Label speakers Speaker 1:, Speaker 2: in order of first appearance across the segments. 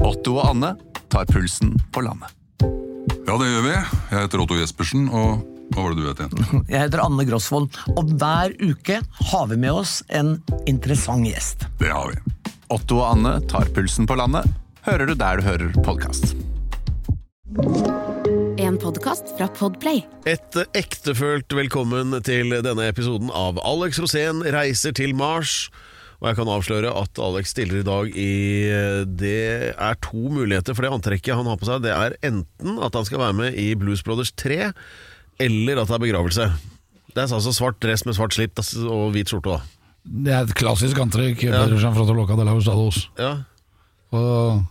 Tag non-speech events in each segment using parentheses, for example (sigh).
Speaker 1: Otto og Anne tar pulsen på landet.
Speaker 2: Ja, det gjør vi. Jeg heter Otto Jespersen, og hva var det du het igjen?
Speaker 3: Jeg heter Anne Grosvold, og hver uke har vi med oss en interessant gjest.
Speaker 2: Det har vi.
Speaker 1: Otto og Anne tar pulsen på landet, hører du der du hører podkast.
Speaker 4: En podkast fra Podplay.
Speaker 5: Et ektefølt velkommen til denne episoden av Alex Rosén reiser til Mars. Og jeg kan avsløre at Alex stiller i dag i Det er to muligheter for det antrekket han har på seg. Det er enten at han skal være med i Blues Brothers 3, eller at det er begravelse. Det er altså svart dress med svart slipp og hvit skjorte. da.
Speaker 6: Det er et klassisk antrekk. Pedersen fra Toloca de la Hustados.
Speaker 5: Ja.
Speaker 6: Og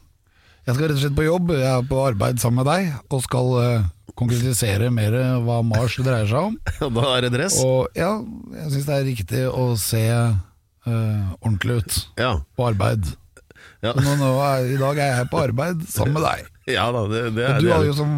Speaker 6: jeg skal rett og slett på jobb, jeg er på arbeid sammen med deg, og skal eh, konkretisere mer eh, hva Mars dreier seg om.
Speaker 5: (laughs) Og Da er det dress.
Speaker 6: Og ja, jeg syns det er riktig å se eh, ordentlig ut
Speaker 5: Ja,
Speaker 6: på arbeid.
Speaker 5: Ja.
Speaker 6: Så nå, nå er, I dag er jeg på arbeid sammen med deg.
Speaker 5: ja da, det, det er
Speaker 6: Og du
Speaker 5: det.
Speaker 6: hadde jo som,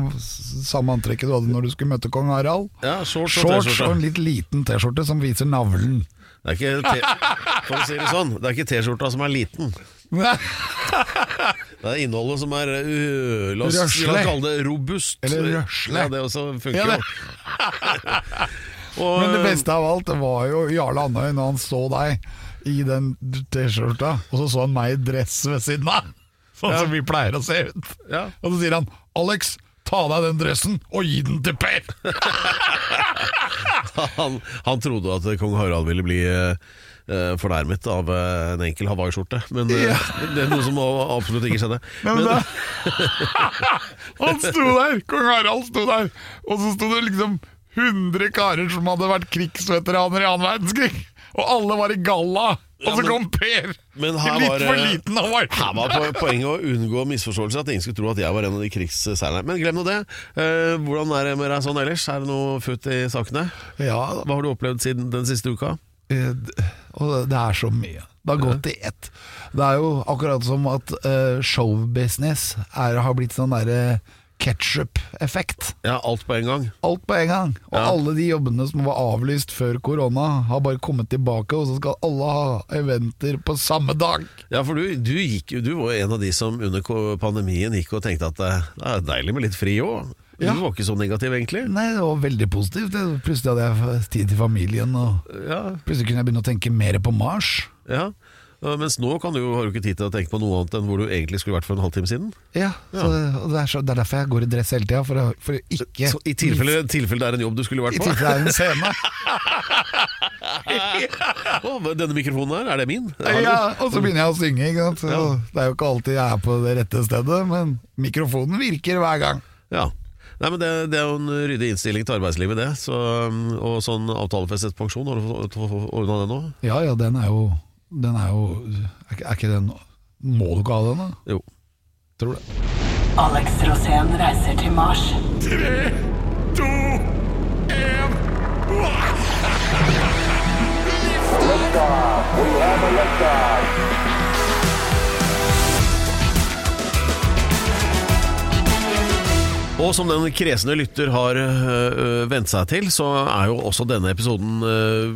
Speaker 6: samme antrekket du hadde når du skulle møte kong Harald.
Speaker 5: ja, shorts og
Speaker 6: Shorts og en
Speaker 5: T-skjorte.
Speaker 6: litt liten T-skjorte som viser
Speaker 5: (laughs)
Speaker 6: navlen.
Speaker 5: Det er ikke T- for å si det sånn, det er ikke T-skjorta som er liten. Det er innholdet som er uh, La oss la oss
Speaker 6: Røsle.
Speaker 5: kalle det robust.
Speaker 6: Eller røsle.
Speaker 5: Ja, det også funker
Speaker 6: Ja,
Speaker 5: jo.
Speaker 6: det-
Speaker 5: (laughs) Og,
Speaker 6: Men det beste av alt var jo Jarle Andøy når han så deg i den T-skjorta, og så så han meg i dress ved siden av. Sånn som vi pleier å se ut.
Speaker 5: Ja.
Speaker 6: Og så sier han 'Alex, ta av deg den dressen og gi den til Per'.
Speaker 5: (laughs) han, han trodde at kong Harald ville bli eh, eh, fornærmet av eh, en enkel hawaiiskjorte, men eh, (laughs) det er noe som absolutt ikke skjedde.
Speaker 6: (laughs) Men da, han sto der, kong Harald sto der, og så sto det liksom 100 karer som hadde vært krigsveteraner i annen verdenskrig, og alle var i galla. Og så
Speaker 5: men-
Speaker 6: kom Per!
Speaker 5: men her
Speaker 6: I
Speaker 5: var
Speaker 6: litt
Speaker 5: det-
Speaker 6: for liten og
Speaker 5: Her var po- poenget å unngå misforståelser, at ingen skulle tro at jeg var en av de krigsseilerne. Men glem nå det. Eh, hvordan er det med deg sånn ellers? Er det noe futt i sakene?
Speaker 6: Ja,
Speaker 5: Hva har du opplevd siden den siste uka?
Speaker 6: Eh, d- Og det- det er så mye. Det har gått i ett. Det er jo akkurat som at eh, showbusiness er, har blitt sånn derre ketsjup-effekt.
Speaker 5: Ja, alt på en gang.
Speaker 6: Alt på en gang. Og alle de jobbene som var avlyst før korona, har bare kommet tilbake, og så skal alle ha eventer på samme dag.
Speaker 5: Ja, for du, du, gikk, jo- du var jo en av de som under ko- pandemien gikk og tenkte at eh, det er deilig med litt fri òg.
Speaker 6: Ja.
Speaker 5: Du var ikke så negativ, egentlig.
Speaker 6: Nei, det var veldig positivt. Det- Plutselig hadde jeg f- tid til familien, og
Speaker 5: Ja,
Speaker 6: plutselig kunne jeg begynne å tenke mer på Mars.
Speaker 5: ja. Eh, Mens nå kan du, jo- har du ikke tid til å tenke på noe annet enn hvor du egentlig skulle vært for en halvtime siden.
Speaker 6: Ja, Så, og det, er så, det er derfor jeg går i dress hele tida, for, å- for å ikke
Speaker 5: Så I tilfelle, tilfelle det er en jobb du skulle vært
Speaker 6: I
Speaker 5: på. (laughs)
Speaker 6: tilfelle det er en scene.
Speaker 5: Å, men denne mikrofonen her, er det min? Hallo?
Speaker 6: (laughs) Ja, og så begynner jeg å synge. Ikke sant? Så Det er jo ikke alltid jeg er på det rette stedet, men mikrofonen virker hver gang.
Speaker 5: Ja. Nei, men det, det er jo en ryddig innstilling til arbeidslivet, det. Så, um, og sånn avtalefestet pensjon, har du fått- fått ordna det nå?
Speaker 6: Ja ja, den er jo, den er, jo er, ikke- er ikke den Må du ikke ha den, da?
Speaker 5: Jo.
Speaker 6: Tror du det?
Speaker 7: Alex Rosén reiser til Mars.
Speaker 5: Og som den kresne lytter har øh, øh, vent seg til, så er jo også denne episoden øh,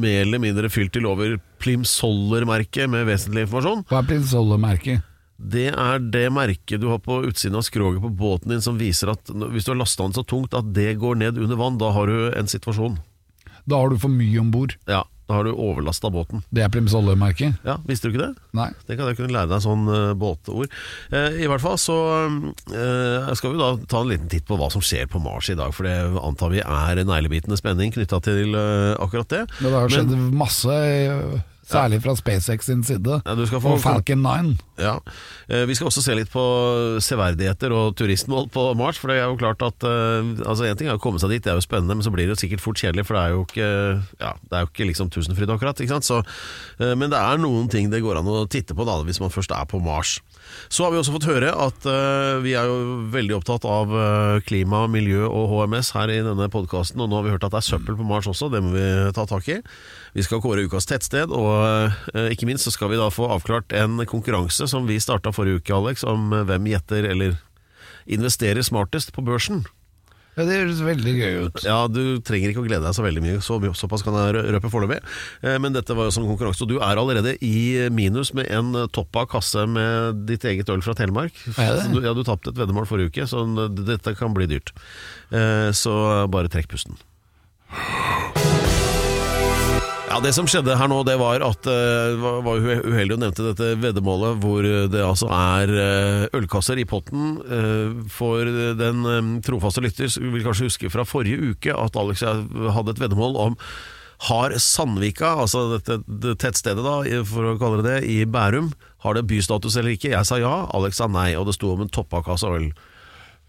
Speaker 5: mer eller mindre fylt til over Plimsoller-merket med vesentlig informasjon.
Speaker 6: Hva er prins Olle-merket?
Speaker 5: Det er det merket du har på utsiden av skroget på båten din som viser at n- hvis du har lasta den så tungt at det går ned under vann, da har du en situasjon.
Speaker 6: Da har du for mye om bord.
Speaker 5: Ja, da har du overlasta båten.
Speaker 6: Det er prins Olle-merket?
Speaker 5: Ja, Visste du ikke det?
Speaker 6: Nei.
Speaker 5: Tenk at jeg kunne lære deg sånn eh, båtord. Eh, I hvert fall så eh, skal vi da ta en liten titt på hva som skjer på Mars i dag, for det antar vi er neglebitende spenning knytta til eh, akkurat det.
Speaker 6: Men det har skjedd
Speaker 5: Men-
Speaker 6: masse, særlig fra SpaceX sin side.
Speaker 5: Ja, du skal få-
Speaker 6: og Falcon 9.
Speaker 5: Ja. Eh, Vi skal også se litt på severdigheter og turistmål på Mars. For det er jo klart at eh, Altså En ting er å komme seg dit, det er jo spennende, men så blir det jo sikkert fort kjedelig. For det er jo ikke Ja, det er jo ikke liksom Tusenfryd akkurat. Ikke sant? Så, eh, men det er noen ting det går an å titte på da hvis man først er på Mars. Så har vi også fått høre at eh, vi er jo veldig opptatt av eh, klima, miljø og HMS her i denne podkasten. Og nå har vi hørt at det er søppel på Mars også, det må vi ta tak i. Vi skal kåre ukas tettsted, og eh, ikke minst så skal vi da få avklart en konkurranse som vi starta forrige uke, Alex, om eh, hvem gjetter eller investerer smartest på børsen.
Speaker 6: Ja, det høres veldig gøy ut.
Speaker 5: Ja, Du trenger ikke å glede deg så veldig mye, så, såpass kan jeg rø- røpe foreløpig. Eh, Men dette var jo som konkurranse, og du er allerede i minus med en toppa kasse med ditt eget øl fra Telemark.
Speaker 6: Er det?
Speaker 5: Så Du, ja, du tapte et veddemål forrige uke, så n- dette kan bli dyrt. Eh, Så bare trekk pusten. Ja, Det som skjedde her nå, det var at eh, var var jo uheldig å nevnte dette veddemålet, hvor det altså er eh, ølkasser i potten. eh, For den eh, trofaste lytter vil kanskje huske fra forrige uke at Alex og jeg hadde et veddemål om har Sandvika, altså dette det tettstedet da, i- for å kalle det det, i Bærum, har det bystatus eller ikke? Jeg sa ja, Alex sa nei, og det sto om en toppakasse øl.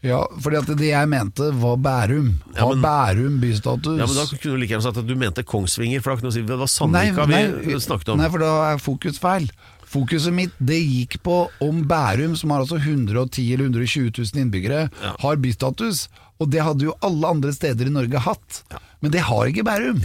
Speaker 6: Ja, fordi at det jeg mente var Bærum. Har
Speaker 5: Ja, men-
Speaker 6: Bærum bystatus?
Speaker 5: Ja, men Da kunne du like gjerne sagt at du mente Kongsvinger, for da kunne du si det var
Speaker 6: Nei,
Speaker 5: Sandvika
Speaker 6: nei,
Speaker 5: vi snakket om.
Speaker 6: Nei, for da er fokus feil. Fokuset mitt det gikk på om Bærum, som har altså 110 eller 120 000 innbyggere, har bystatus. Og det hadde jo alle andre steder i Norge hatt. Men det har ikke Bærum.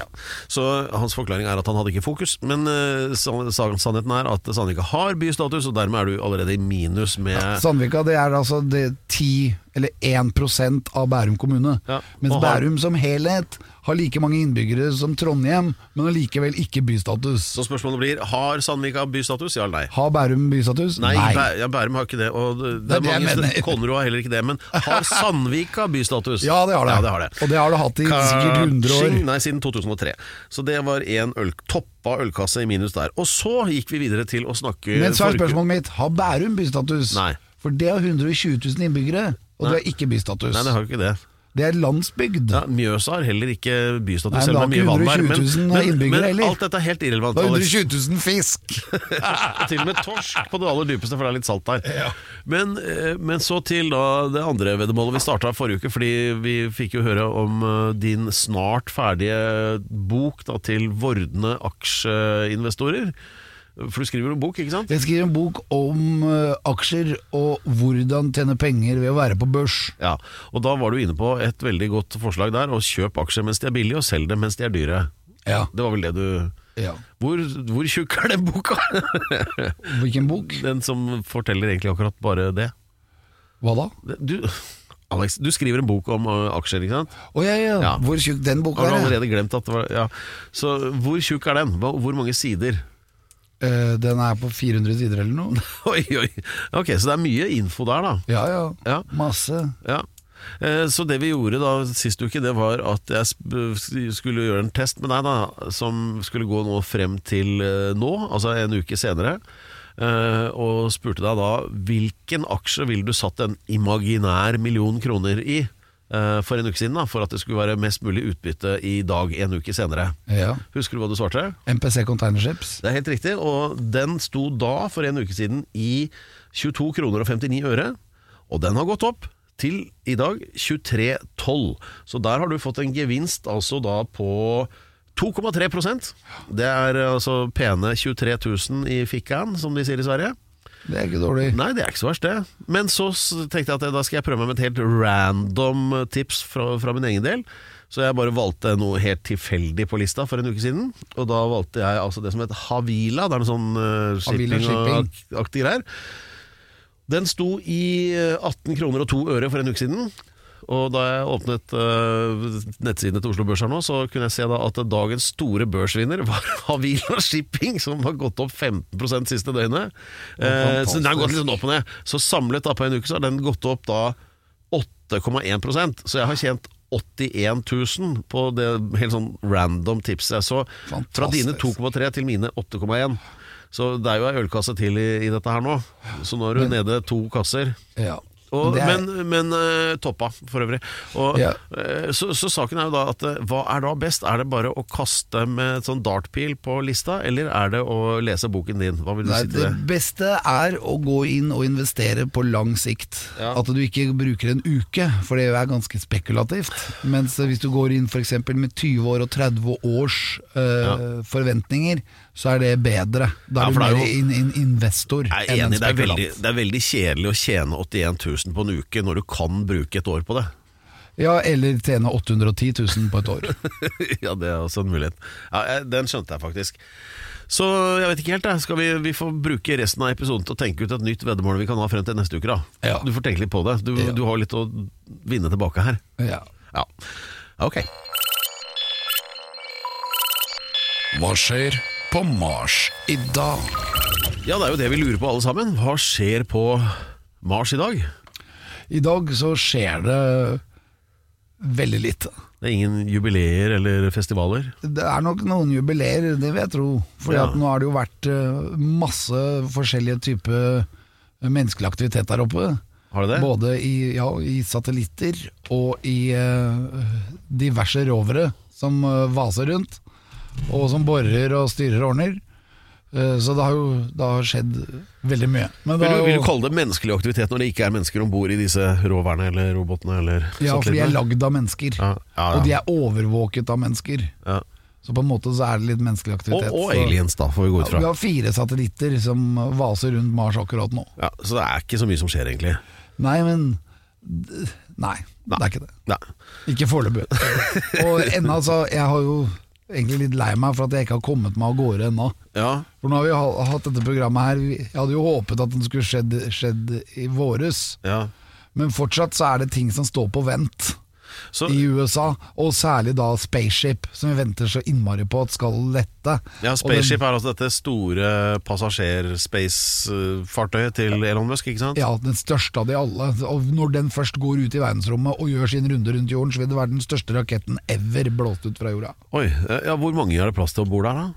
Speaker 5: Så hans forklaring er at han hadde ikke fokus, men eh, san- san- sannheten er at Sandvika har bystatus, og dermed er du allerede i minus med
Speaker 6: Sandvika det er altså det 10 eller 1 av Bærum kommune.
Speaker 5: Ja,
Speaker 6: Mens
Speaker 5: og har-
Speaker 6: Bærum som helhet har like mange innbyggere som Trondheim, men allikevel ikke bystatus.
Speaker 5: Så spørsmålet blir har Sandvika bystatus, ja eller nei?
Speaker 6: Har Bærum bystatus?
Speaker 5: Nei, Bæ- ja, Bærum har ikke det, og det, det
Speaker 6: Det er
Speaker 5: er
Speaker 6: det jeg
Speaker 5: mange
Speaker 6: mener.
Speaker 5: Konro har heller ikke det, men har Sandvika bystatus?
Speaker 6: (laughs) Ja, det har det.
Speaker 5: Ja, det har det.
Speaker 6: Og det har det hatt i sikkert 100 år.
Speaker 5: Kaching, Nei, siden 2003. Så det var en øl, toppa ølkasse i minus der. Og så gikk vi videre til å snakke
Speaker 6: Men så er
Speaker 5: forrige-
Speaker 6: spørsmålet mitt Har Bærum bystatus?
Speaker 5: Eh, Nei.
Speaker 6: For det har 120 000 innbyggere, og det har ikke bystatus.
Speaker 5: Nei, det har jo ikke det.
Speaker 6: Det er landsbygd.
Speaker 5: Ja, Mjøsa har heller ikke bystatus,
Speaker 6: Nei, men
Speaker 5: selv om det er mye
Speaker 6: det har
Speaker 5: vann
Speaker 6: ikke
Speaker 5: der. Men,
Speaker 6: 120 000
Speaker 5: men,
Speaker 6: eh, innbyggere
Speaker 5: men
Speaker 6: heller.
Speaker 5: alt dette er helt irrelevant.
Speaker 6: Det er
Speaker 5: Alex.
Speaker 6: 120 000 fisk!
Speaker 5: (laughs) Til og med torsk på det aller dypeste, for det er litt salt der. Men, eh, men så til da det andre veddemålet vi starta forrige uke, fordi vi fikk jo høre om eh, din snart ferdige bok da, til vordende aksjeinvestorer. For du skriver jo en bok, ikke sant?
Speaker 6: Jeg skriver en bok om eh, aksjer og hvordan tjene penger ved å være på børs.
Speaker 5: Ja, og Da var du inne på et veldig godt forslag der, å kjøpe aksjer mens de er billige, og selg dem mens de er dyre.
Speaker 6: Ja.
Speaker 5: Det var vel det du
Speaker 6: ja.
Speaker 5: Hvor, hvor tjukk er den boka? (laughs)
Speaker 6: Hvilken bok?
Speaker 5: Den som forteller egentlig akkurat bare det.
Speaker 6: Hva da?
Speaker 5: Du, Alex, du skriver en bok om ø, aksjer, ikke sant?
Speaker 6: Å ja, ja.
Speaker 5: Ja.
Speaker 6: Hvor tjukk den boka
Speaker 5: Har du
Speaker 6: er? ja.
Speaker 5: allerede glemt at det var ja. Så hvor tjukk er den? Hva- Hvor mange sider? (laughs)
Speaker 6: Eh, den er på 400 sider eller noe.
Speaker 5: Oi, oi. Ok, så det er mye info der, da.
Speaker 6: Ja, ja.
Speaker 5: Ja.
Speaker 6: Masse.
Speaker 5: Ja. Eh, Så det vi gjorde da sist uke, det var at jeg sp- skulle gjøre en test med deg, da, som skulle gå nå frem til eh, nå, altså en uke senere. Eh, Og spurte deg da hvilken aksje ville du satt en imaginær million kroner i eh, for en uke siden, da, for at det skulle være mest mulig utbytte i dag en uke senere.
Speaker 6: Ja.
Speaker 5: Husker du hva du svarte?
Speaker 6: MPC Containerships.
Speaker 5: Det er helt riktig, og den sto da for en uke siden i 22 kroner og 59 øre, og den har gått opp til i dag 23,12. Så der har du fått en gevinst altså da på 2,3 Det er altså pene 23 000 i fikkaen, som de sier i Sverige.
Speaker 6: Det er ikke dårlig.
Speaker 5: Nei, det er ikke så verst, det. Men så s- tenkte jeg at da skal jeg prøve meg med et helt random eh, tips fra, fra min egen del. Så jeg bare valgte noe helt tilfeldig på lista for en uke siden. Og da valgte jeg altså det som heter Havila. Det er noe sånn uh,
Speaker 6: Havila
Speaker 5: shipping, og ak- aktig greier. Den sto i eh, 18 kroner og 2 øre for en uke siden. Og da jeg åpnet eh, nettsidene til Oslo Børs her nå, så kunne jeg se da at dagens store børsvinner (laughs) var Havila Shipping, som har gått opp 15 siste døgnet. Eh, så den har gått litt sånn opp og ned. Så samlet da på en uke så har den gått opp da 8,1 Så jeg har tjent 81 000 på det helt sånn random tipset. Så fra dine
Speaker 6: Fantastisk.
Speaker 5: 2,3 til mine 8,1. Så det er jo ei ølkasse til i, i dette her nå. Så nå er du nede to kasser.
Speaker 6: Ja.
Speaker 5: Og,
Speaker 6: Men det er-
Speaker 5: men men eh, toppa, for øvrig. Og,
Speaker 6: Ja.
Speaker 5: eh, så, så saken er jo da at eh, hva er da best? Er det bare å kaste med et sånn dartpil på lista, eller er det å lese boken din? Hva vil du
Speaker 6: Nei,
Speaker 5: si til
Speaker 6: det
Speaker 5: det?
Speaker 6: beste er å gå inn og investere på lang sikt.
Speaker 5: Ja.
Speaker 6: At du ikke bruker en uke, for det er ganske spekulativt. Mens hvis du går inn f.eks. med 20 år og 30 års eh, forventninger, så er det bedre. Da
Speaker 5: Ja,
Speaker 6: er
Speaker 5: for
Speaker 6: du
Speaker 5: det er
Speaker 6: mer
Speaker 5: jo-
Speaker 6: en in, investor
Speaker 5: Jeg er
Speaker 6: enn en
Speaker 5: enig, det er, veldig,
Speaker 6: spekulant.
Speaker 5: det er veldig kjedelig å tjene 81 000 på en uke når du kan bruke et år på det.
Speaker 6: Ja, eller tjene 810 000 på et
Speaker 5: (laughs)
Speaker 6: år.
Speaker 5: ja, det er også en mulighet. Ja, jeg- den skjønte jeg faktisk. Så jeg vet ikke helt, jeg. Skal vi, vi får bruke resten av episoden til å tenke ut et nytt veddemål vi kan ha frem til neste uke, da.
Speaker 6: Ja.
Speaker 5: Du får tenke litt på det. Du,
Speaker 6: Ja.
Speaker 5: du har litt å vinne tilbake her.
Speaker 6: Ja.
Speaker 5: Ja. Ok.
Speaker 6: Hva skjer på Mars i dag?
Speaker 5: Ja, det er jo det vi lurer på alle sammen. Hva skjer på Mars i dag?
Speaker 6: I dag så skjer det veldig lite.
Speaker 5: Det er ingen jubileer eller festivaler.
Speaker 6: Det er nok noen jubileer, det vil jeg tro. For
Speaker 5: Ja.
Speaker 6: nå har det jo vært eh, masse forskjellige typer menneskelig aktivitet der oppe.
Speaker 5: Har det det?
Speaker 6: Både i, ja, i satellitter og i eh, diverse rovere som eh, vaser rundt. Og som borer og styrer og ordner. Eh, så det har jo det har skjedd veldig mye. Men det
Speaker 5: Vil du,
Speaker 6: har
Speaker 5: vil
Speaker 6: jo-
Speaker 5: du kalle det menneskelig aktivitet når det ikke er mennesker om bord i disse roverne eller robotene eller
Speaker 6: ja, for de er
Speaker 5: satellittene?
Speaker 6: lagd av mennesker.
Speaker 5: Ja, ja, ja.
Speaker 6: Og de er overvåket av mennesker.
Speaker 5: Ja.
Speaker 6: Så på en måte så er det litt menneskelig
Speaker 5: Og,
Speaker 6: aktivitet.
Speaker 5: og
Speaker 6: så-
Speaker 5: aliens, da, får vi gå ut
Speaker 6: Ja, Vi
Speaker 5: fra.
Speaker 6: har fire satellitter som vaser rundt Mars akkurat nå.
Speaker 5: Ja, så det er ikke så mye som skjer, egentlig.
Speaker 6: Nei, men d- Nei, det er ikke det.
Speaker 5: Nei.
Speaker 6: Ikke
Speaker 5: (laughs)
Speaker 6: foreløpig. Og ennå, altså. Jeg har jo egentlig litt lei meg for at jeg ikke har kommet meg av gårde ennå.
Speaker 5: Ja,
Speaker 6: For nå har vi ha- hatt dette programmet her vi- Jeg hadde jo håpet at den skulle skjedd, skjedd i våres,
Speaker 5: ja.
Speaker 6: men fortsatt så er det ting som står på vent.
Speaker 5: Så,
Speaker 6: i USA, og særlig da Spaceship, som vi venter så innmari på at skal lette.
Speaker 5: ja,
Speaker 6: Og
Speaker 5: Spaceship er altså dette store passasjerspace-fartøyet til Elon Musk, ikke sant?
Speaker 6: Den, ja, den største av de alle. Og når den først går ut i verdensrommet og gjør sin runde rundt jorden, så vil det være den største raketten ever blåst ut fra jorda.
Speaker 5: Oi, eh, ja, Hvor mange har det plass til om bord der, da?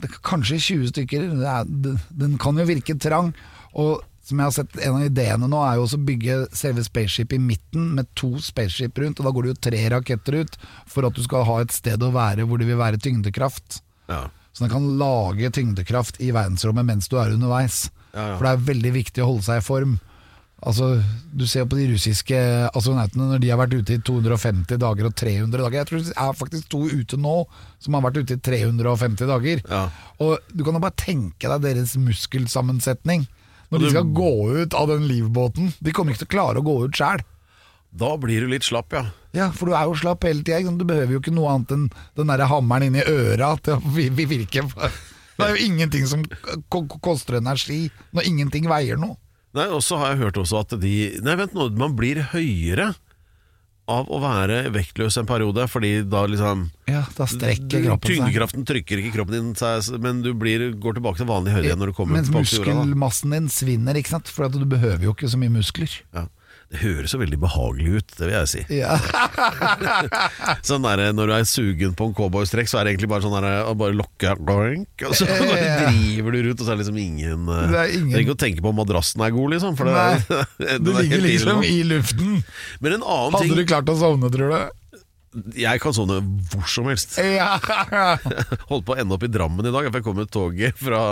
Speaker 6: Det, kanskje 20 stykker. Det er, det, den kan jo virke trang. og som jeg har sett, En av ideene nå er jo også å bygge selve spaceship i midten med to spaceship rundt. og Da går det jo tre raketter ut for at du skal ha et sted å være hvor det vil være tyngdekraft.
Speaker 5: Ja.
Speaker 6: Så den kan lage tyngdekraft i verdensrommet mens du er underveis.
Speaker 5: Ja, ja.
Speaker 6: For det er veldig viktig å holde seg i form. Altså, du ser jo på de russiske astronautene når de har vært ute i 250 dager og 300 dager. Jeg tror det er faktisk to ute nå som har vært ute i 350 dager.
Speaker 5: Ja.
Speaker 6: Og du kan jo bare tenke deg deres muskelsammensetning når de skal gå ut av den livbåten. De kommer ikke til å klare å gå ut sjæl.
Speaker 5: Da blir du litt slapp, ja.
Speaker 6: Ja, for du er jo slapp hele tida. Du behøver jo ikke noe annet enn den derre hammeren inni øra til å vi- vi virke. Det er jo ingenting som ko- ko- koster energi når ingenting veier noe.
Speaker 5: Nei, og så har jeg hørt også at de Nei, vent nå, man blir høyere av å være vektløs en periode, fordi da liksom
Speaker 6: Ja, da strekker
Speaker 5: du-
Speaker 6: kroppen seg.
Speaker 5: Tyngdekraften trykker ikke kroppen din seg, men du blir, går tilbake til vanlig høyde igjen når du kommer
Speaker 6: Mens
Speaker 5: tilbake til jorda. da.
Speaker 6: muskelmassen din svinner, ikke sant? for at du behøver jo ikke så mye muskler.
Speaker 5: Ja. Det høres så veldig behagelig ut, det vil jeg si.
Speaker 6: (laughs) Ja.
Speaker 5: Sånn der, Når du er sugen på en cowboystrekk, så er det egentlig bare sånn der, å bare lokke doink, Og så (laughs) bare driver du rundt, og så er det liksom ingen eh,
Speaker 6: Det er ingen-
Speaker 5: Trenger ikke å tenke på om madrassen er god, liksom. For (laughs) det,
Speaker 6: Nei,
Speaker 5: den
Speaker 6: Du
Speaker 5: er helt
Speaker 6: ligger liksom
Speaker 5: irrelevant.
Speaker 6: i luften.
Speaker 5: Men en annen
Speaker 6: Hadde
Speaker 5: ting
Speaker 6: du klart å sovne, tror
Speaker 5: Jeg kan sovne hvor som
Speaker 6: (laughs)
Speaker 5: helst. (laughs)
Speaker 6: du? Ja.
Speaker 5: Holdt på å ende opp i Drammen i dag, for jeg kom med toget fra,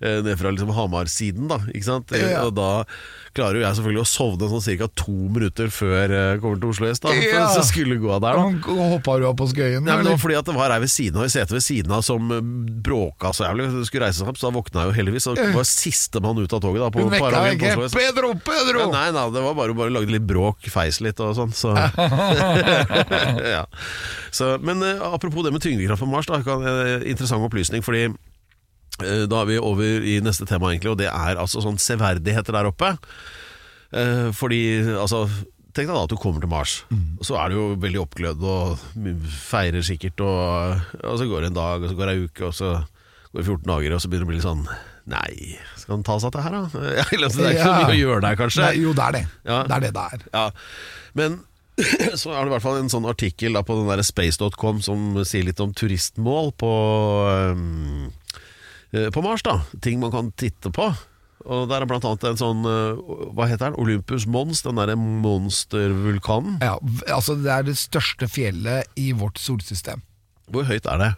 Speaker 5: eh, ned fra liksom Hamar-siden. da, ikke sant? Eh,
Speaker 6: Ja.
Speaker 5: Og da klarer jo jeg selvfølgelig å sovne sånn ca. to minutter før jeg kommer til Oslo S. da, for
Speaker 6: Ja.
Speaker 5: så skulle gå av der. da.
Speaker 6: Hoppa du opp på
Speaker 5: Nei,
Speaker 6: skøyen?
Speaker 5: men det
Speaker 6: eller?
Speaker 5: var fordi at det var ei ved siden av, i setet ved siden av som eh, bråka så jævlig. Hun skulle reise seg opp, så da våkna jeg jo heldigvis. Og var sistemann ut av toget da, på
Speaker 6: Hun vekka deg
Speaker 5: perrongen på
Speaker 6: ikke.
Speaker 5: Oslo S.
Speaker 6: Pedro, Pedro!
Speaker 5: Ja, nei da, det var bare å bare lage litt bråk, feis litt og sånn. Så. ja. så, men eh, apropos det med tyngdekraft på Mars, da, kan, eh, interessant opplysning. fordi eh, da er vi over i neste tema, egentlig, og det er altså sånn severdigheter der oppe. Eh, fordi altså Tenk deg da at du kommer til Mars, og så er du jo veldig oppglødd og feirer sikkert, og, og så går det en dag, og så går det ei uke, og så går det 14 dager, og så begynner det å bli litt sånn Nei, skal han ta seg av det her, da? (laughs) Eller, så det er ikke så mye å gjøre der, kanskje.
Speaker 6: Nei, jo, det er det.
Speaker 5: Ja.
Speaker 6: Det er det det er.
Speaker 5: Ja, men (clears throat) så er det i hvert fall en sånn artikkel da, på den der space.com som sier litt om turistmål på, øhm, eh, på Mars. da Ting man kan titte på. Og Der er blant annet en sånn eh, Hva heter den? Olympus Mons? Den derre monstervulkanen.
Speaker 6: Ja, v- altså Det er det største fjellet i vårt solsystem.
Speaker 5: Hvor høyt er det?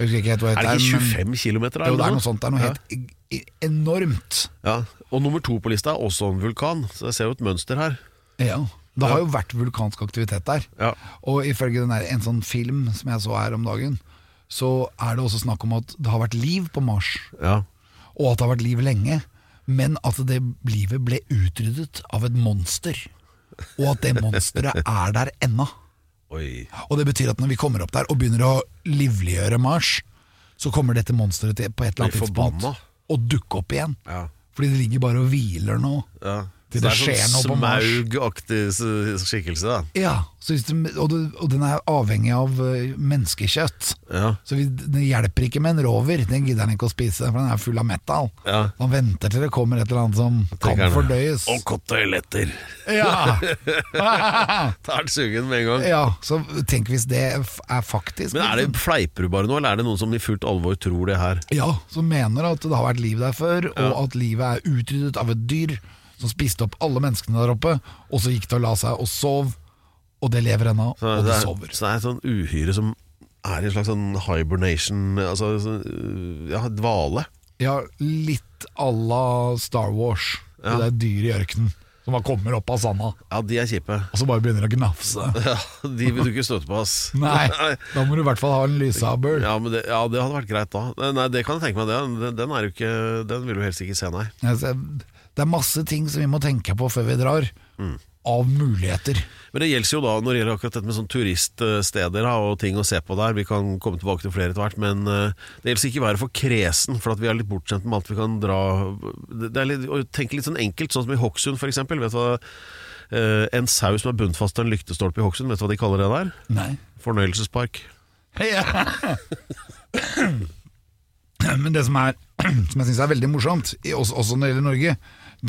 Speaker 6: Jeg husker ikke helt hva det
Speaker 5: Er det ikke 25
Speaker 6: men-
Speaker 5: km der?
Speaker 6: Jo, det er
Speaker 5: eller
Speaker 6: noe sånt. Det er noe
Speaker 5: Ja.
Speaker 6: helt i- i- enormt.
Speaker 5: ja. Og nummer to på lista er også en vulkan, så jeg ser jo et mønster her.
Speaker 6: Ja. Det har jo vært vulkansk aktivitet der.
Speaker 5: Ja.
Speaker 6: Og ifølge den der, en sånn film som jeg så her om dagen, så er det også snakk om at det har vært liv på Mars.
Speaker 5: Ja,
Speaker 6: Og at det har vært liv lenge. Men at det livet ble utryddet av et monster. Og at det monsteret er der ennå.
Speaker 5: Oi.
Speaker 6: Og det betyr at når vi kommer opp der og begynner å livliggjøre Mars, så kommer dette monsteret til på et eller annet
Speaker 5: Blir
Speaker 6: tidspunkt
Speaker 5: forbanna.
Speaker 6: å dukke opp igjen.
Speaker 5: Ja.
Speaker 6: Fordi det ligger bare og hviler nå.
Speaker 5: Ja. Det
Speaker 6: alltid det,
Speaker 5: er
Speaker 6: skjer
Speaker 5: sånn
Speaker 6: noe på Mars.
Speaker 5: smaugaktig s- skikkelse, da.
Speaker 6: Ja, så hvis de, og, det, og den er avhengig av eh, menneskekjøtt.
Speaker 5: Ja.
Speaker 6: Så vi, det hjelper ikke med en rover, den gidder han ikke å spise, for den er full av metal.
Speaker 5: Ja.
Speaker 6: Så Han venter til det kommer et eller annet som kan
Speaker 5: Tenker han.
Speaker 6: fordøyes.
Speaker 5: Og koteletter!
Speaker 6: Ja.
Speaker 5: Da er den sugen med en gang.
Speaker 6: (laughs) ja, så tenk hvis det f- er faktisk
Speaker 5: Men er det Fleiper du bare nå, eller er det noen som i fullt alvor tror det her?
Speaker 6: Ja, som mener at det har vært liv der før, og at livet er utryddet av et dyr som spiste opp alle menneskene der oppe, og så gikk det og la seg og sov, og det lever ennå,
Speaker 5: Så det
Speaker 6: og det
Speaker 5: er,
Speaker 6: sover.
Speaker 5: Så det er sånn uhyre som er en slags sånn hibernation Altså sånn, øh, ja, dvale.
Speaker 6: Ja, litt à la Star Wars. Det er dyr i ørkenen som bare kommer opp av sanda,
Speaker 5: Ja, de er kjipe. (laughs)
Speaker 6: og så bare begynner å gnafse.
Speaker 5: Ja, de vil du ikke støte på, ass. (laughs)
Speaker 6: (laughs) Nei, da må du i hvert fall ha en lyshaber.
Speaker 5: Ja, men det, ja, det hadde vært greit da. Nei, det kan jeg tenke meg. det. Den, den, er jo ikke, den vil du helst ikke se, nei.
Speaker 6: Altså, Det er masse ting som vi må tenke på før vi drar, av muligheter.
Speaker 5: Men det gjelder jo da når det gjelder akkurat dette med sånn turiststeder da, og ting å se på der. Vi kan komme tilbake til flere etter hvert, men eh, det gjelder ikke å være for kresen, for at vi er litt bortskjemt med alt vi kan dra Det det er litt, Å tenke litt sånn enkelt, sånn som i Hokksund f.eks. Vet du hva eh, En sau som er bundet fast til en lyktestolpe i Hokksund, vet du hva de kaller det der?
Speaker 6: Nei.
Speaker 5: Fornøyelsespark.
Speaker 6: Ja. Men det som, er, som jeg syns er veldig morsomt, i- også, også når det gjelder Norge,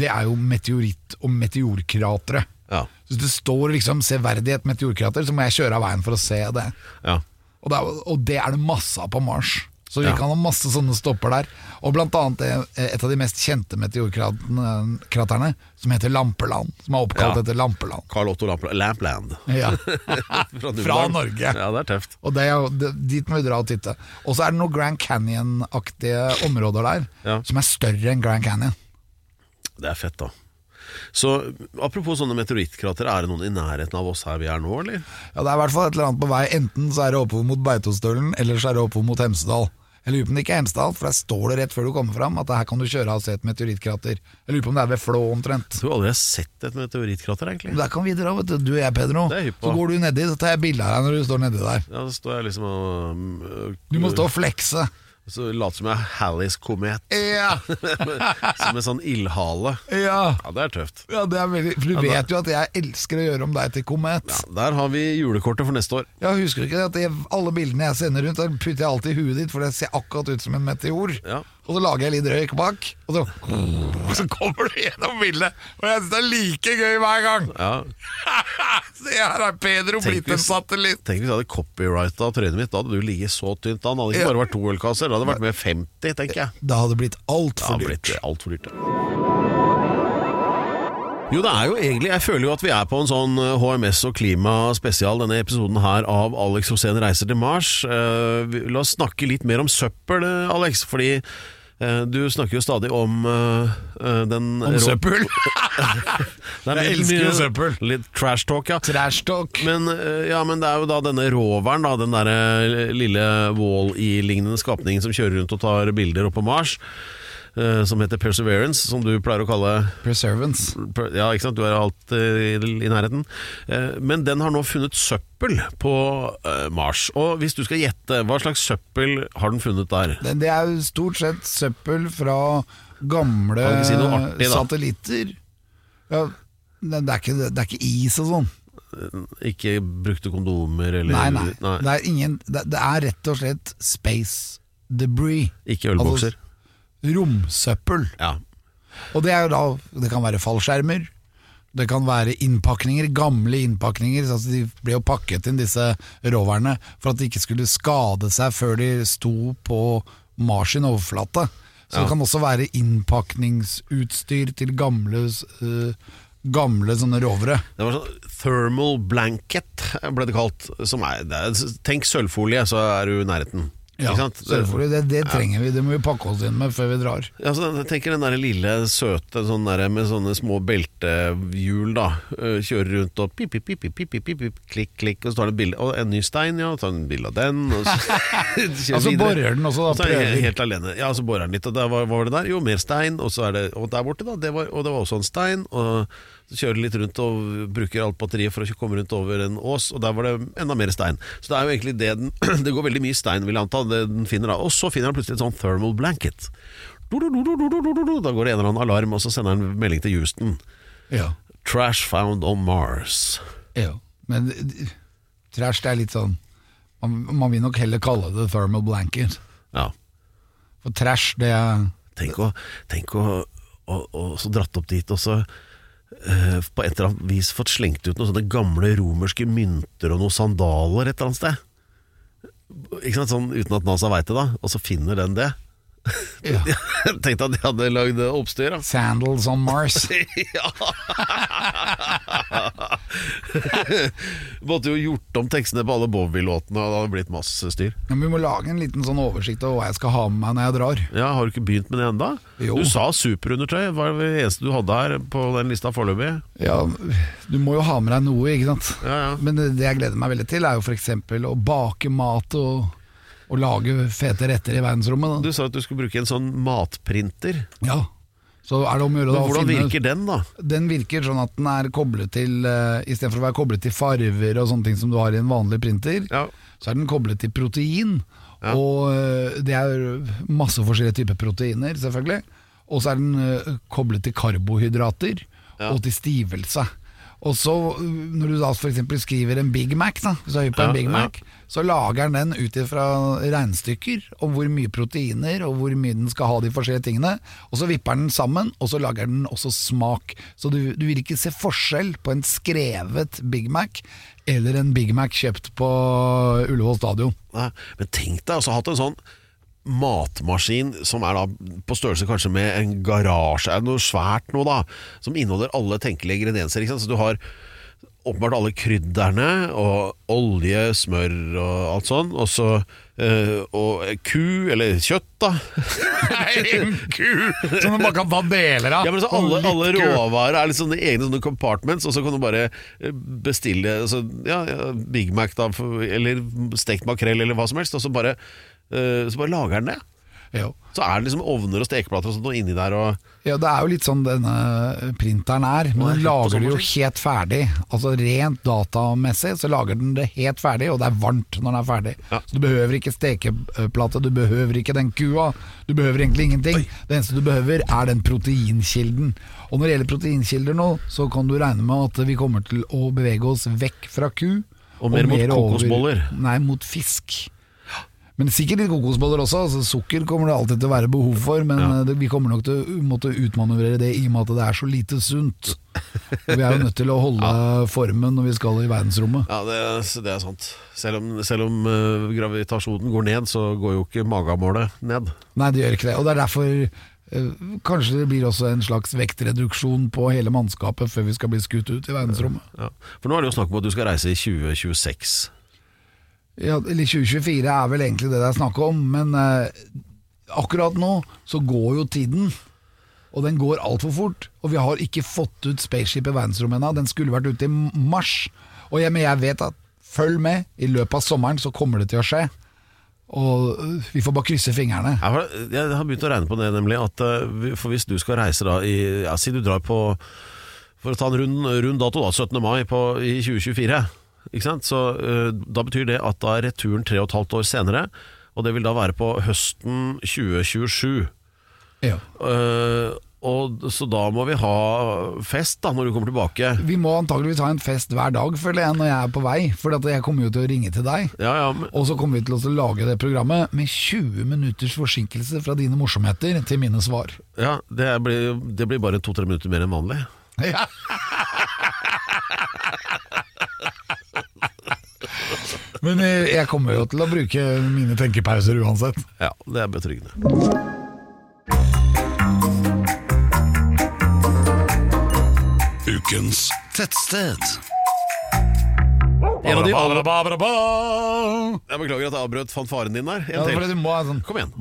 Speaker 6: det er jo meteoritt- og meteorkratre.
Speaker 5: Ja.
Speaker 6: Så Hvis det står liksom 'severdig et meteorkrater', så må jeg kjøre av veien for å se det.
Speaker 5: ja.
Speaker 6: Og det er, og det, er det masse av på Mars. Så vi
Speaker 5: Ja.
Speaker 6: kan ha masse sånne stopper der. Og blant annet eh, et av de mest kjente meteorkraterne, som heter Lampeland. Som er oppkalt
Speaker 5: Ja. (laughs)
Speaker 6: etter Lampeland.
Speaker 5: Carl Otto Lampla- Lampland. (laughs)
Speaker 6: Ja. Fra
Speaker 5: Nordland.
Speaker 6: Norge.
Speaker 5: Ja, det er tøft.
Speaker 6: Og det er jo, det, dit må vi dra og titte. Og så er det noen Grand Canyon-aktige områder der,
Speaker 5: Ja.
Speaker 6: som er større enn Grand Canyon.
Speaker 5: Det er fett, da. Så apropos sånne meteorittkrater, er det noen i nærheten av oss her vi er nå, eller?
Speaker 6: Ja, Det er i hvert fall et eller annet på vei. Enten så er det oppover mot Beitostølen, eller så er det oppover mot Hemsedal. Jeg lurer på om det ikke er Hemsedal, for der står det rett før du kommer fram at her kan du kjøre av og se et meteorittkrater. Jeg lurer på om det er ved Flå omtrent.
Speaker 5: Jeg tror aldri jeg har sett et meteorittkrater, egentlig.
Speaker 6: Der kan vi dra, vet du. Du og jeg, Pedro.
Speaker 5: Det er hypp på.
Speaker 6: Så går du nedi, så tar jeg bilde av deg når du står nedi der.
Speaker 5: Ja, så står jeg liksom og mm,
Speaker 6: Du må stå og flekse.
Speaker 5: Så later som jeg er Hallis komet, (laughs)
Speaker 6: Ja,
Speaker 5: som en sånn ildhale.
Speaker 6: ja.
Speaker 5: Ja, det er tøft.
Speaker 6: ja det er veldig For du vet jo at jeg elsker å gjøre om deg til komet.
Speaker 5: Der har vi julekortet for neste år.
Speaker 6: Ja, husker du ikke det at jeg, alle bildene jeg sender rundt, da putter jeg alltid i huet ditt, for det ser akkurat ut som en meteor.
Speaker 5: Ja.
Speaker 6: Og så lager jeg litt røyk bak, og så, og så kommer du gjennom bildet. Og jeg syns det er like gøy hver gang.
Speaker 5: Ja,
Speaker 6: (laughs) Se her er Pedro
Speaker 5: Tenk
Speaker 6: blitt en
Speaker 5: hvis-
Speaker 6: satellitt.
Speaker 5: Tenk hvis jeg hadde copyrighta trynet mitt, da hadde du ligget så tynt an. Det hadde ikke
Speaker 6: Ja.
Speaker 5: bare vært to ølkasser, det hadde vært med 50, tenker jeg.
Speaker 6: Det hadde blitt
Speaker 5: Det hadde
Speaker 6: altfor dyrt.
Speaker 5: blitt altfor dyrt. ja. Jo, det er jo egentlig Jeg føler jo at vi er på en sånn eh, HMS og klimaspesial, denne episoden her av Alex Rosén reiser til Mars. Eh, vi- la oss snakke litt mer om søppel, eh, Alex, fordi eh, du snakker jo stadig om eh, eh, den
Speaker 6: Om
Speaker 5: rå-
Speaker 6: søppel!
Speaker 5: Det er
Speaker 6: Jeg
Speaker 5: litt
Speaker 6: elsker jo
Speaker 5: mye-
Speaker 6: søppel.
Speaker 5: Litt trash talk, ja.
Speaker 6: Trash talk.
Speaker 5: Men, eh, ja, men det er jo da denne roveren, da, den derre lille Wall-E-lignende skapningen som kjører rundt og tar bilder oppe på Mars, eh, som heter Perseverance, som du pleier å kalle
Speaker 6: Preservance.
Speaker 5: per- Ja, ikke sant, du er alt eh, i i nærheten. Eh, Men den har nå funnet søppel på eh, Mars. Og hvis du skal gjette, hva slags søppel har den funnet der?
Speaker 6: Det, det er jo stort sett søppel fra gamle
Speaker 5: Kan ikke si noe artig, da.
Speaker 6: satellitter. Ja, det, det, er ikke, det er ikke is og sånn.
Speaker 5: Ikke brukte kondomer eller
Speaker 6: Nei, nei. Det, er ingen, det, det er rett og slett space debris.
Speaker 5: Ikke ølbokser.
Speaker 6: Altså, romsøppel.
Speaker 5: ja.
Speaker 6: Og det er jo da Det kan være fallskjermer. Det kan være innpakninger, gamle innpakninger. Altså de ble jo pakket inn, disse roverne, for at de ikke skulle skade seg før de sto på Mars sin overflate. Så det kan også være innpakningsutstyr til gamle, øh, gamle sånne rovere.
Speaker 5: Det var sånn thermal blanket ble det kalt. Som er, det er, tenk sølvfolie, så er du i nærheten.
Speaker 6: Ja,
Speaker 5: Ikke sant?
Speaker 6: selvfølgelig. Det, det trenger vi. Det må vi pakke oss inn med før vi drar.
Speaker 5: Ja, så jeg tenker den der lille søte sånn der, med sånne små beltehjul, da. Eh, Kjører rundt og pip, pip, pip, pip, pip, pip, pip, klikk, klikk, og så tar det bilde Og en ny stein, ja, og tar en bilde av den, og så (laughs)
Speaker 6: (laughs)
Speaker 5: kjører
Speaker 6: Altså,
Speaker 5: videre.
Speaker 6: borer den
Speaker 5: Og
Speaker 6: også, da,
Speaker 5: så er jeg
Speaker 6: prøver.
Speaker 5: helt alene. Ja, så borer den litt, og der, hva, hva var det der? Jo, mer stein, og så er det Og der borte, da, det var, og det var også en stein, og så kjører den litt rundt og bruker alt batteriet for å komme rundt over en ås, og der var det enda mer stein. Så det er jo egentlig det den (clears throat) Det går veldig mye stein, vil jeg anta, det den finner da. Og så finner den plutselig et sånn thermal blanket. Do, do, do, do, do, do, do, do, do. Da går det en eller annen alarm, og så sender han melding til Houston.
Speaker 6: Ja.
Speaker 5: Trash found on Mars.
Speaker 6: ja. Men d- d- trash, det er litt sånn man, man vil nok heller kalle det thermal blanket.
Speaker 5: Ja.
Speaker 6: For trash, det er
Speaker 5: Tenk å, tenk å, å, å så dratt opp dit, og så eh, på et eller annet vis fått slengt ut noen sånne gamle romerske mynter og noen sandaler et eller annet sted. Ikke sant, sånn Uten at NASA veit det, da. Og så finner den det. (laughs)
Speaker 6: ja.
Speaker 5: Tenkte at de hadde lagd oppstyr. altså. (laughs) da.
Speaker 6: Sandals on Mars.
Speaker 5: (laughs) Måtte jo gjort om tekstene på alle Bowie-låtene, og det hadde blitt masse styr.
Speaker 6: Ja, men vi må lage en liten sånn oversikt over hva jeg skal ha med meg når jeg drar.
Speaker 5: Ja, Har du ikke begynt med det enda?
Speaker 6: Jo.
Speaker 5: Du sa superundertøy, var det eneste du hadde her på den lista foreløpig.
Speaker 6: Ja, Du må jo ha med deg noe, ikke sant.
Speaker 5: Ja, ja.
Speaker 6: Men det jeg gleder meg veldig til, er jo f.eks. å bake mat og, og lage fete retter i verdensrommet.
Speaker 5: Du
Speaker 6: Da.
Speaker 5: sa at du skulle bruke en sånn matprinter.
Speaker 6: Ja, Så er det om å gjøre da
Speaker 5: Men
Speaker 6: å
Speaker 5: hvordan
Speaker 6: finne-
Speaker 5: virker den, da?
Speaker 6: Den virker sånn at den er koblet til eh, Istedenfor å være koblet til farver og sånne ting som du har i en vanlig printer,
Speaker 5: Ja.
Speaker 6: så er den koblet til protein. Og eh, det er masse forskjellige typer proteiner, selvfølgelig. Og så er den eh, koblet til karbohydrater og til stivelse. Og så eh, når du da f.eks. skriver en Big Mac, da, hvis du er høy på
Speaker 5: Ja,
Speaker 6: en Big
Speaker 5: ja.
Speaker 6: Mac, så lager den den ut ifra regnestykker om hvor mye proteiner og hvor mye den skal ha de forskjellige tingene. Og så vipper den sammen, og så lager den også smak. Så du, du vil ikke se forskjell på en skrevet Big Mac eller en Big Mac kjøpt på Ullevål
Speaker 5: (laughs)
Speaker 6: stadion.
Speaker 5: Nei, men tenk deg altså, hatt en sånn matmaskin som er da på størrelse kanskje med en garasje, er det noe svært noe da, som inneholder alle tenkelige ingredienser. Ikke sant? Så du har åpenbart alle krydderne, og olje, smør og alt sånn, og så eh, og ku, eller kjøtt
Speaker 6: (laughs)
Speaker 5: da.
Speaker 6: En ku som du bare kan ta deler av!
Speaker 5: Ja, men så alle, alle råvarer er liksom egne sånne compartments, og så kan du bare eh, bestille altså, ja, ja, Big Mac, da, for- eller stekt makrell, eller hva som helst, og så bare, eh, så bare lager den det.
Speaker 6: Jo.
Speaker 5: Så er det liksom ovner og stekeplater og sånt noe inni der, og
Speaker 6: Ja, det er jo litt sånn denne printeren er, men den lager det jo helt ferdig. Altså rent datamessig så lager den det helt ferdig, og det er varmt når den er ferdig. Så du behøver ikke stekeplate, du behøver ikke den kua, du behøver egentlig ingenting. Det eneste du behøver er den proteinkilden. Og når det gjelder proteinkilder nå, så kan du regne med at vi kommer til å bevege oss vekk fra ku.
Speaker 5: Og mer mot
Speaker 6: over-
Speaker 5: kokosboller.
Speaker 6: Nei, mot fisk. Men sikkert litt kokosboller også. Altså, sukker kommer det alltid til å være behov for, men eh, det, vi kommer nok til å måtte utmanøvrere det i og med at det er så lite sunt. Og vi er jo nødt til å holde formen når vi skal i verdensrommet.
Speaker 5: Ja, det, er- det er sant. Selv om, selv om eh, gravitasjonen går ned, så går jo ikke magamålet ned.
Speaker 6: Nei, det gjør ikke det. Og det er derfor eh, Kanskje det blir også en slags vektreduksjon på hele mannskapet før vi skal bli skutt ut i verdensrommet.
Speaker 5: Ja. For nå er det jo snakk om at du skal reise i 2026.
Speaker 6: Ja, eller 2024 er vel egentlig det det er snakk om, men eh, akkurat nå så går jo tiden. Og den går altfor fort. Og vi har ikke fått ut Spaceship i verdensrommet ennå. Den skulle vært ute i mars. Og jeg, men jeg vet at følg med, i løpet av sommeren så kommer det til å skje. Og øh, vi får bare krysse fingrene.
Speaker 5: Jeg har, jeg har begynt å regne på det, nemlig. At, eh, vi- for hvis du skal reise da i ja, Si du drar på For å ta en rund, rund dato, da. 17. mai på, i 2024. Ikke sant? Så eh, da betyr det at da er returen tre og et halvt år senere. Og det vil da være på høsten 2027.
Speaker 6: Ja.
Speaker 5: Eh, og, så da må vi ha fest da når du kommer tilbake.
Speaker 6: Vi må antageligvis ha en fest hver dag, føler jeg, når jeg er på vei. For at jeg kommer jo til å ringe til deg.
Speaker 5: Ja, ja, men,
Speaker 6: Og så kommer vi til å lage det programmet med 20 minutters forsinkelse fra dine morsomheter til mine svar.
Speaker 5: ja det, blir, det blir bare to-tre minutter mer enn vanlig.
Speaker 6: Ja. Men eh, jeg kommer jo til å bruke mine tenkepauser uansett.
Speaker 5: Ja, Det er betryggende.
Speaker 2: Ukens
Speaker 5: Tettsted. En av de aller Jeg beklager at jeg avbrøt fanfaren din der. En
Speaker 6: Ja,
Speaker 5: til.
Speaker 6: fordi du må ha en sånn
Speaker 5: Kom igjen.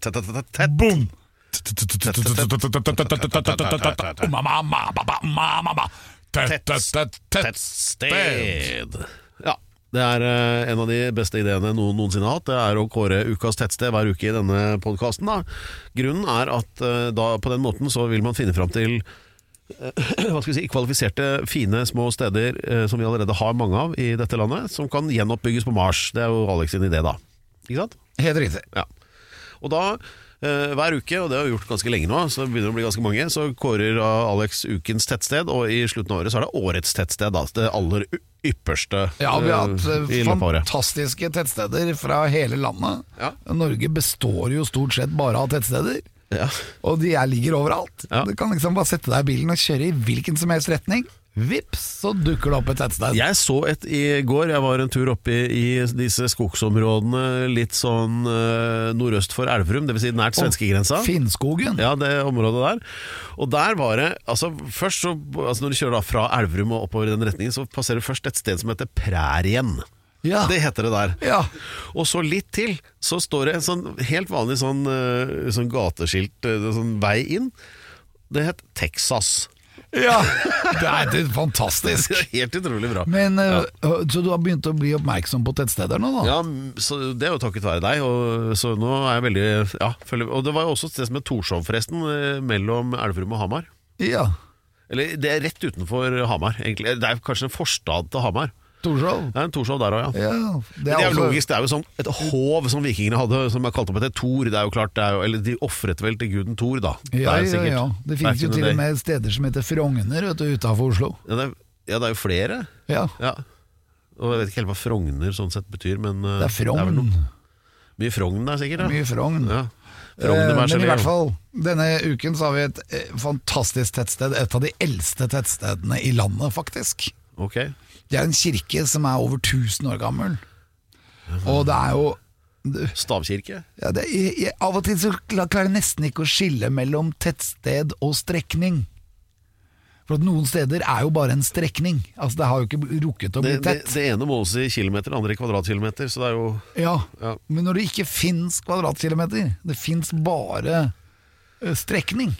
Speaker 5: Tett, tett, tett, tett.
Speaker 6: Boom!
Speaker 5: Tettsted. Ja. Det er eh, en av de beste ideene noen noensinne har hatt. Det er å kåre ukas tettsted hver uke i denne podkasten. Grunnen er at eh, da, på den måten så vil man finne fram til eh, hva skal vi si, kvalifiserte, fine, små steder eh, som vi allerede har mange av i dette landet, som kan gjenoppbygges på Mars. Det er jo Alex sin idé, da. Ikke sant?
Speaker 6: Helt riktig.
Speaker 5: Ja. Og da, eh, hver uke, og det har vi gjort ganske lenge nå, så det begynner å bli ganske mange, så kårer eh, Alex ukens tettsted, og i slutten av året så er det årets tettsted, da. Det aller y- ypperste
Speaker 6: Ja, vi har hatt
Speaker 5: eh,
Speaker 6: eh,
Speaker 5: i løpet av året.
Speaker 6: fantastiske tettsteder fra hele landet.
Speaker 5: Ja.
Speaker 6: Norge består jo stort sett bare av tettsteder.
Speaker 5: Ja.
Speaker 6: Og de er ligger overalt.
Speaker 5: Ja.
Speaker 6: Du kan liksom bare sette deg i bilen og kjøre i hvilken som helst retning. Vips, så dukker det opp et tettsted.
Speaker 5: Jeg så et i går. Jeg var en tur oppe i, i disse skogsområdene litt sånn eh, nordøst for Elverum, dvs. Si nært svenskegrensa.
Speaker 6: Finnskogen.
Speaker 5: Ja, det området der. Og der var det altså først så, altså Når du kjører da fra Elverum og oppover i den retningen, så passerer du først et sted som heter Prærien.
Speaker 6: Ja.
Speaker 5: Det heter det der.
Speaker 6: Ja.
Speaker 5: Og så litt til, så står det en sånn helt vanlig sånn, eh, sånn gateskilt, eh, sånn vei inn. Det het Texas. (laughs)
Speaker 6: Ja. Det er helt fantastisk.
Speaker 5: Det er helt utrolig bra.
Speaker 6: Men, eh, Så du har begynt å bli oppmerksom på tettsteder nå, da?
Speaker 5: Ja, m- så Det er jo takket være deg. Og, så nå er jeg veldig ja, følger, Og det var jo også et sted som het Torshov, forresten. eh, Mellom Elverum og Hamar.
Speaker 6: Ja.
Speaker 5: Eller det er rett utenfor Hamar, egentlig. Det er kanskje en forstad til Hamar.
Speaker 6: Torshov.
Speaker 5: Det er en Torshov der òg, ja.
Speaker 6: Ja,
Speaker 5: Det er, jo
Speaker 6: også-
Speaker 5: logisk, det er jo sånn et hov som vikingene hadde, som er kalt opp etter Thor. Det er jo klart, det er jo, eller de ofret vel til guden Thor, da.
Speaker 6: Ja,
Speaker 5: er jo
Speaker 6: ja,
Speaker 5: sikkert
Speaker 6: ja. Det finnes
Speaker 5: back
Speaker 6: jo
Speaker 5: in the
Speaker 6: til og
Speaker 5: day.
Speaker 6: med steder som heter Frogner vet du, utenfor Oslo.
Speaker 5: ja det, er, ja, det er jo flere.
Speaker 6: Ja,
Speaker 5: Ja. Og jeg vet ikke helt hva Frogner sånn sett betyr, men eh,
Speaker 6: det er
Speaker 5: vel
Speaker 6: Frogn.
Speaker 5: noe- mye Frogn der, sikkert.
Speaker 6: Mye Frogn.
Speaker 5: Ja.
Speaker 6: Eh,
Speaker 5: Frogner,
Speaker 6: Men i hvert fall, denne uken så har vi et eh, fantastisk tettsted. Et av de eldste tettstedene i landet, faktisk.
Speaker 5: Ok.
Speaker 6: Det er en kirke som er over 1000 år gammel. Og det er jo (laughs)
Speaker 5: Stavkirke.
Speaker 6: ja, det, jeg, jeg, Av og til så kla- klarer jeg nesten ikke å skille mellom tettsted og strekning. For at noen steder er jo bare en strekning. Altså Det har jo ikke rukket å bli
Speaker 5: Det, det,
Speaker 6: tett.
Speaker 5: det ene måles i kilometer, det andre i kvadratkilometer, så det er jo
Speaker 6: Ja,
Speaker 5: Ja.
Speaker 6: men når det ikke fins kvadratkilometer, det fins bare eh, strekning.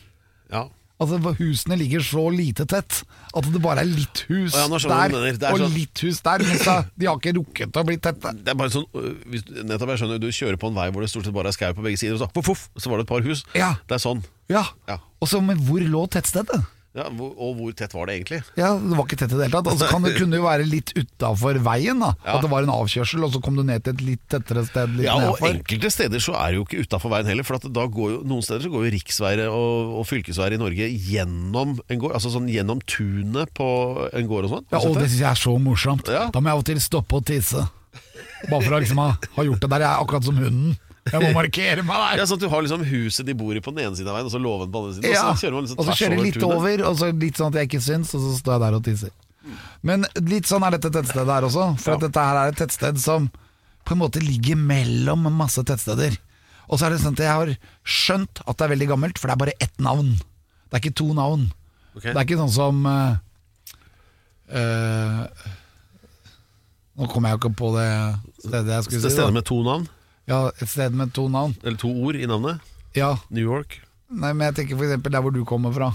Speaker 5: ja.
Speaker 6: Altså hva- Husene ligger så lite tett at det bare er litt hus
Speaker 5: Å ja, nå skjønner jeg hva
Speaker 6: der
Speaker 5: du mener. Det er
Speaker 6: og
Speaker 5: sånn-
Speaker 6: litt hus der. Men så, de har ikke rukket å bli tette.
Speaker 5: Det er bare sånn øh, hvis, Nettopp jeg skjønner Du kjører på en vei hvor det stort sett bare er skau på begge sider, og så, poff, poff, så var det et par hus.
Speaker 6: Ja.
Speaker 5: Det er sånn.
Speaker 6: Ja.
Speaker 5: Ja.
Speaker 6: Og så, men hvor lå tettstedet?
Speaker 5: Ja, hvor, og hvor tett var det egentlig?
Speaker 6: Ja, Det var ikke tett i det hele tatt. Og så kan det kunne jo være litt utafor veien. da
Speaker 5: Ja.
Speaker 6: At det var en avkjørsel, og så kom du ned til et litt tettere sted litt
Speaker 5: Ja, og
Speaker 6: nedfor.
Speaker 5: Enkelte steder så er det jo ikke utafor veien heller. For at da går jo, Noen steder så går jo riksveier og, og fylkesveier i Norge gjennom en gård. Altså sånn gjennom tunet på en gård og sånn.
Speaker 6: Ja,
Speaker 5: Har du
Speaker 6: og
Speaker 5: sett
Speaker 6: det
Speaker 5: det?
Speaker 6: syns jeg er så morsomt.
Speaker 5: Ja.
Speaker 6: Da må jeg av og til stoppe og tisse. Bare for å liksom ha, ha gjort det der. Jeg er akkurat som hunden. Jeg må markere meg
Speaker 5: Ja,
Speaker 6: der.
Speaker 5: sånn at Du har liksom huset de bor i på den ene siden av veien, og så låven på den andre siden.
Speaker 6: Ja.
Speaker 5: Og så kjører man liksom
Speaker 6: Og så
Speaker 5: tvers
Speaker 6: kjører jeg
Speaker 5: over
Speaker 6: litt
Speaker 5: tunet.
Speaker 6: over, og så litt sånn at jeg ikke syns, og så står jeg der og tisser. Men litt sånn er dette tettstedet her også, for at dette her er et tettsted som på en måte ligger mellom masse tettsteder. Og så er det sånn at jeg har skjønt at det er veldig gammelt, for det er bare ett navn. Det er ikke to navn.
Speaker 5: Ok.
Speaker 6: Det er ikke sånn som eh, eh, Nå kommer jeg jo ikke på det stedet jeg
Speaker 5: Det
Speaker 6: skulle
Speaker 5: er
Speaker 6: si. da.
Speaker 5: steder med to navn,
Speaker 6: Ja, Et sted med to navn.
Speaker 5: eller to ord i navnet.
Speaker 6: Ja,
Speaker 5: New York.
Speaker 6: nei, men jeg tenker f.eks. der hvor du kommer fra.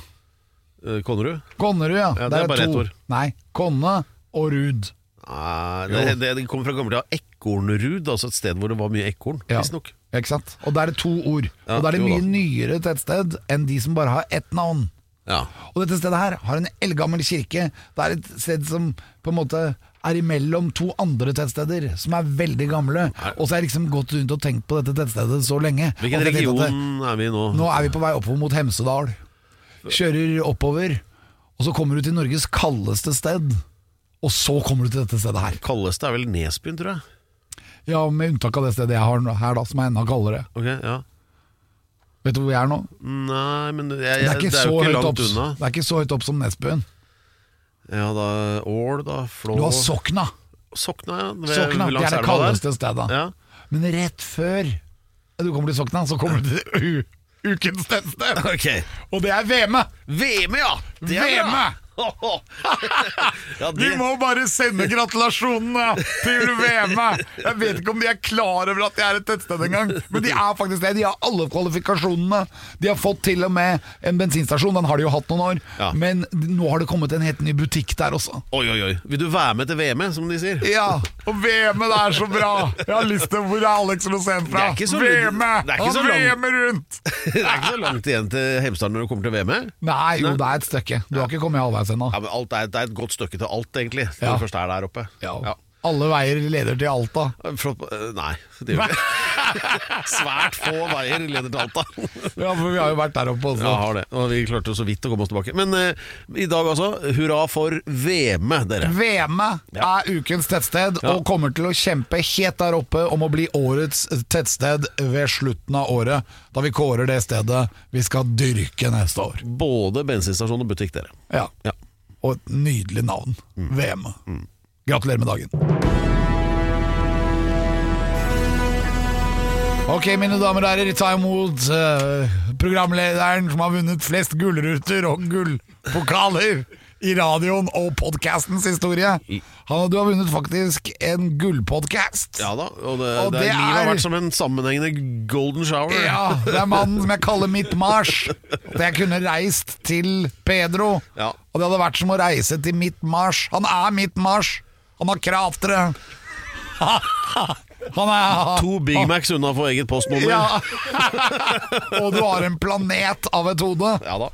Speaker 5: Eh, Konnerud?
Speaker 6: Konnerud, ja.
Speaker 5: Ja, det
Speaker 6: Der
Speaker 5: er bare
Speaker 6: to.
Speaker 5: ett ord.
Speaker 6: Nei, Konne og Rud.
Speaker 5: Nei, Ah, det, det, det kommer fra gammelt av Ekornrud, altså et sted hvor det var mye ekorn.
Speaker 6: Ja.
Speaker 5: Visstnok.
Speaker 6: Ikke sant? Og da er det to ord.
Speaker 5: Ja,
Speaker 6: og da er det
Speaker 5: jo da.
Speaker 6: mye nyere tettsted enn de som bare har ett navn.
Speaker 5: Ja.
Speaker 6: Og dette stedet her har en eldgammel kirke. Det er et sted som på en måte er imellom to andre tettsteder som er veldig gamle. Og så har jeg liksom gått rundt og tenkt på dette tettstedet så lenge.
Speaker 5: Hvilken
Speaker 6: at jeg tenkte at det-
Speaker 5: region er vi i nå?
Speaker 6: Nå er vi på vei oppover mot Hemsedal. Kjører oppover, og så kommer du til Norges kaldeste sted. Og så kommer du til dette stedet her.
Speaker 5: Kaldeste er vel Nesbyen, tror jeg.
Speaker 6: Ja, Med unntak av det stedet jeg har nå- her, da, som er enda kaldere.
Speaker 5: Ok, ja
Speaker 6: Vet du hvor vi er nå?
Speaker 5: Nei, men jeg,
Speaker 6: Det
Speaker 5: jeg,
Speaker 6: er ikke,
Speaker 5: jo
Speaker 6: så,
Speaker 5: ikke
Speaker 6: høyt
Speaker 5: langt
Speaker 6: opp,
Speaker 5: unna.
Speaker 6: det er ikke så høyt opp som Nesbyen.
Speaker 5: Ja da, Ål, da. Flå
Speaker 6: Du har Sokna.
Speaker 5: Sokna, ja. ved-
Speaker 6: Sokna
Speaker 5: ved
Speaker 6: det
Speaker 5: langs elva der.
Speaker 6: er det kaldeste stedet.
Speaker 5: Ja.
Speaker 6: Men rett før du kommer til Sokna, så kommer du til u ukens tettsted.
Speaker 5: (laughs) Ok.
Speaker 6: Og det er E! VM-et!
Speaker 5: VM, ja! Det er
Speaker 6: VM-et!
Speaker 5: bra. ja,
Speaker 6: Vi
Speaker 5: det,
Speaker 6: må bare sende gratulasjonene til VM! Jeg vet ikke om de er klar over at de er et tettsted engang, men de er faktisk det. De har alle kvalifikasjonene. De har fått til og med en bensinstasjon, den har de jo hatt noen år.
Speaker 5: Ja.
Speaker 6: Men nå har det kommet en helt ny butikk der også.
Speaker 5: Oi, oi, oi. Vil du være med til VM, som de sier?
Speaker 6: Ja, og VM-et er så bra! Jeg har lyst til Hvor er Alex Rosén
Speaker 5: Det
Speaker 6: fra?
Speaker 5: er ikke så-
Speaker 6: VM-et!
Speaker 5: det er ikke
Speaker 6: Han
Speaker 5: så langt.
Speaker 6: VM-er rundt!
Speaker 5: (laughs) det er ikke så langt igjen til Hemsedal når du kommer til VM.
Speaker 6: Nei, jo, det er et stykke. Du har ikke kommet halvveis ennå.
Speaker 5: Ja, men alt er, det er et godt stykke til alt, egentlig, når
Speaker 6: Ja.
Speaker 5: du først er der oppe. Ja.
Speaker 6: Alle veier leder til Alta.
Speaker 5: Flott, eh, nei, det gjør ikke
Speaker 6: (laughs)
Speaker 5: Svært få veier leder til Alta.
Speaker 6: Ja, for vi har jo vært der oppe også.
Speaker 5: Ja, har det. Og vi klarte jo så vidt å komme oss tilbake. Men eh, i dag altså, hurra for VM, dere.
Speaker 6: VM er ukens tettsted og kommer til å kjempe helt der oppe om å bli årets tettsted ved slutten av året, da vi kårer det stedet vi skal dyrke neste år.
Speaker 5: Både bensinstasjon og butikk, dere.
Speaker 6: Ja.
Speaker 5: Ja.
Speaker 6: Og et nydelig navn. VM. Gratulerer med dagen. Ok, mine damer og herrer, ta imot eh, programlederen som har vunnet flest gullruter og gullpokaler i radioen og podcastens historie. Han, du har vunnet faktisk en gullpodcast.
Speaker 5: Ja da, og det,
Speaker 6: Og
Speaker 5: det
Speaker 6: det
Speaker 5: er, livet har
Speaker 6: er-
Speaker 5: vært som en sammenhengende golden shower.
Speaker 6: Ja, det er mannen som jeg kaller mitt Mars. At jeg kunne reist til Pedro.
Speaker 5: Ja.
Speaker 6: Og det hadde vært som å reise til mitt Mars. Han er mitt Mars. Han har kraftere. (laughs) Han (laughs) er
Speaker 5: To Big Macs unna for eget postnummer.
Speaker 6: Ja. (laughs) Og du har en planet av et hode.
Speaker 5: Ja da.